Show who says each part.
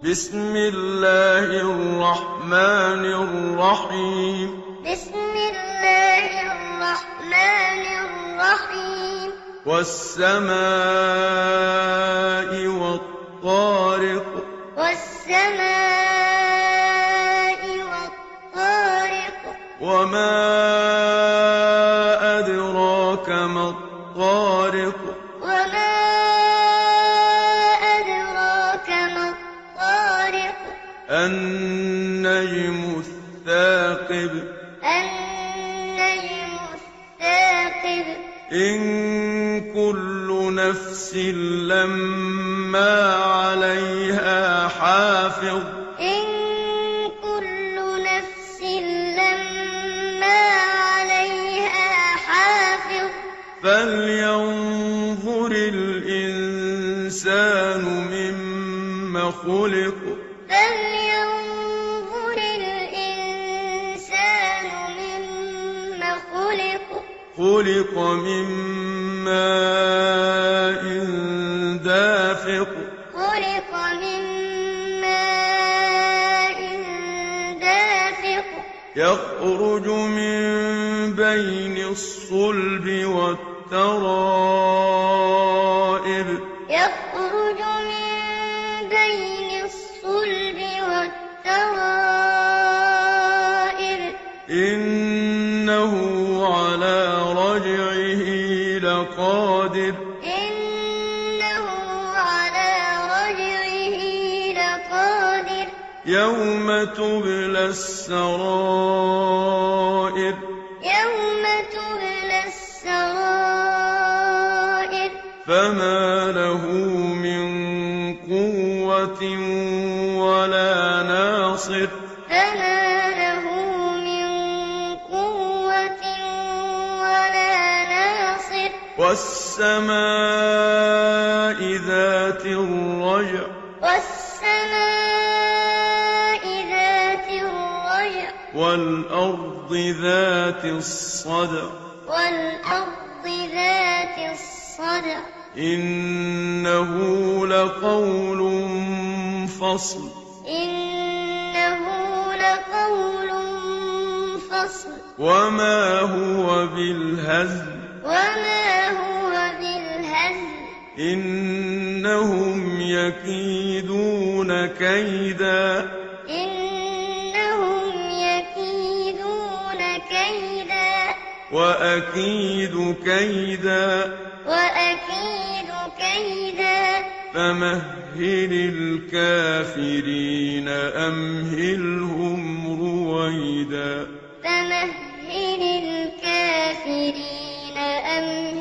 Speaker 1: بِسْمِ اللَّهِ الرَّحْمَٰنِ الرَّحِيمِ
Speaker 2: بسم الله الرحمن الرحيم
Speaker 1: وَالسَّمَاءِ وَالطَّارِقِ
Speaker 2: والسماء والطارق
Speaker 1: وَمَا أَدْرَاكَ مَا الطَّارِقُ
Speaker 2: وما أدراك ما الطارق
Speaker 1: النَّجْمُ الثَّاقِبُ
Speaker 2: النجم الثاقب
Speaker 1: إِن كُلُّ نَفْسٍ لَّمَّا عَلَيْهَا حَافِظٌ
Speaker 2: إن كل نفس لما عليها حافظ
Speaker 1: فَلْيَنظُرِ الْإِنسَانُ مِمَّ خُلِقَ
Speaker 2: فلينظر الإنسان مما خلق
Speaker 1: خُلِقَ مِن مَّاءٍ دَافِقٍ
Speaker 2: خلق من ماء دافق
Speaker 1: يَخْرُجُ مِن بَيْنِ الصُّلْبِ وَالتَّرَائِبِ
Speaker 2: يخرج من بين الصلب والترائب
Speaker 1: إِنَّهُ عَلَىٰ رَجْعِهِ لَقَادِرٌ
Speaker 2: إنه على رجعه لقادر
Speaker 1: يَوْمَ تُبْلَى السَّرَائِرُ
Speaker 2: يوم تبلى السرائر
Speaker 1: فَمَا لَهُ مِن قُوَّةٍ وَلَا نَاصِرٍ
Speaker 2: فما له من قوة ولا ناصر
Speaker 1: وَالسَّمَاءِ ذَاتِ الرَّجْعِ
Speaker 2: والسماء ذات الرجع
Speaker 1: وَالْأَرْضِ ذَاتِ الصَّدْعِ
Speaker 2: والأرض ذات الصدع
Speaker 1: إِنَّهُ لَقَوْلٌ فَصْلٌ
Speaker 2: إنه لقول فصل
Speaker 1: وَمَا هُوَ بِالْهَزْلِ
Speaker 2: وما هو بالهزل
Speaker 1: إِنَّهُمْ يَكِيدُونَ كَيْدًا
Speaker 2: إنهم يكيدون كيدا
Speaker 1: وَأَكِيدُ كَيْدًا
Speaker 2: وأكيد كيدا
Speaker 1: فَمَهِّلِ الْكَافِرِينَ أَمْهِلْهُمْ رُوَيْدًا
Speaker 2: فمهل الكافرين أمهلهم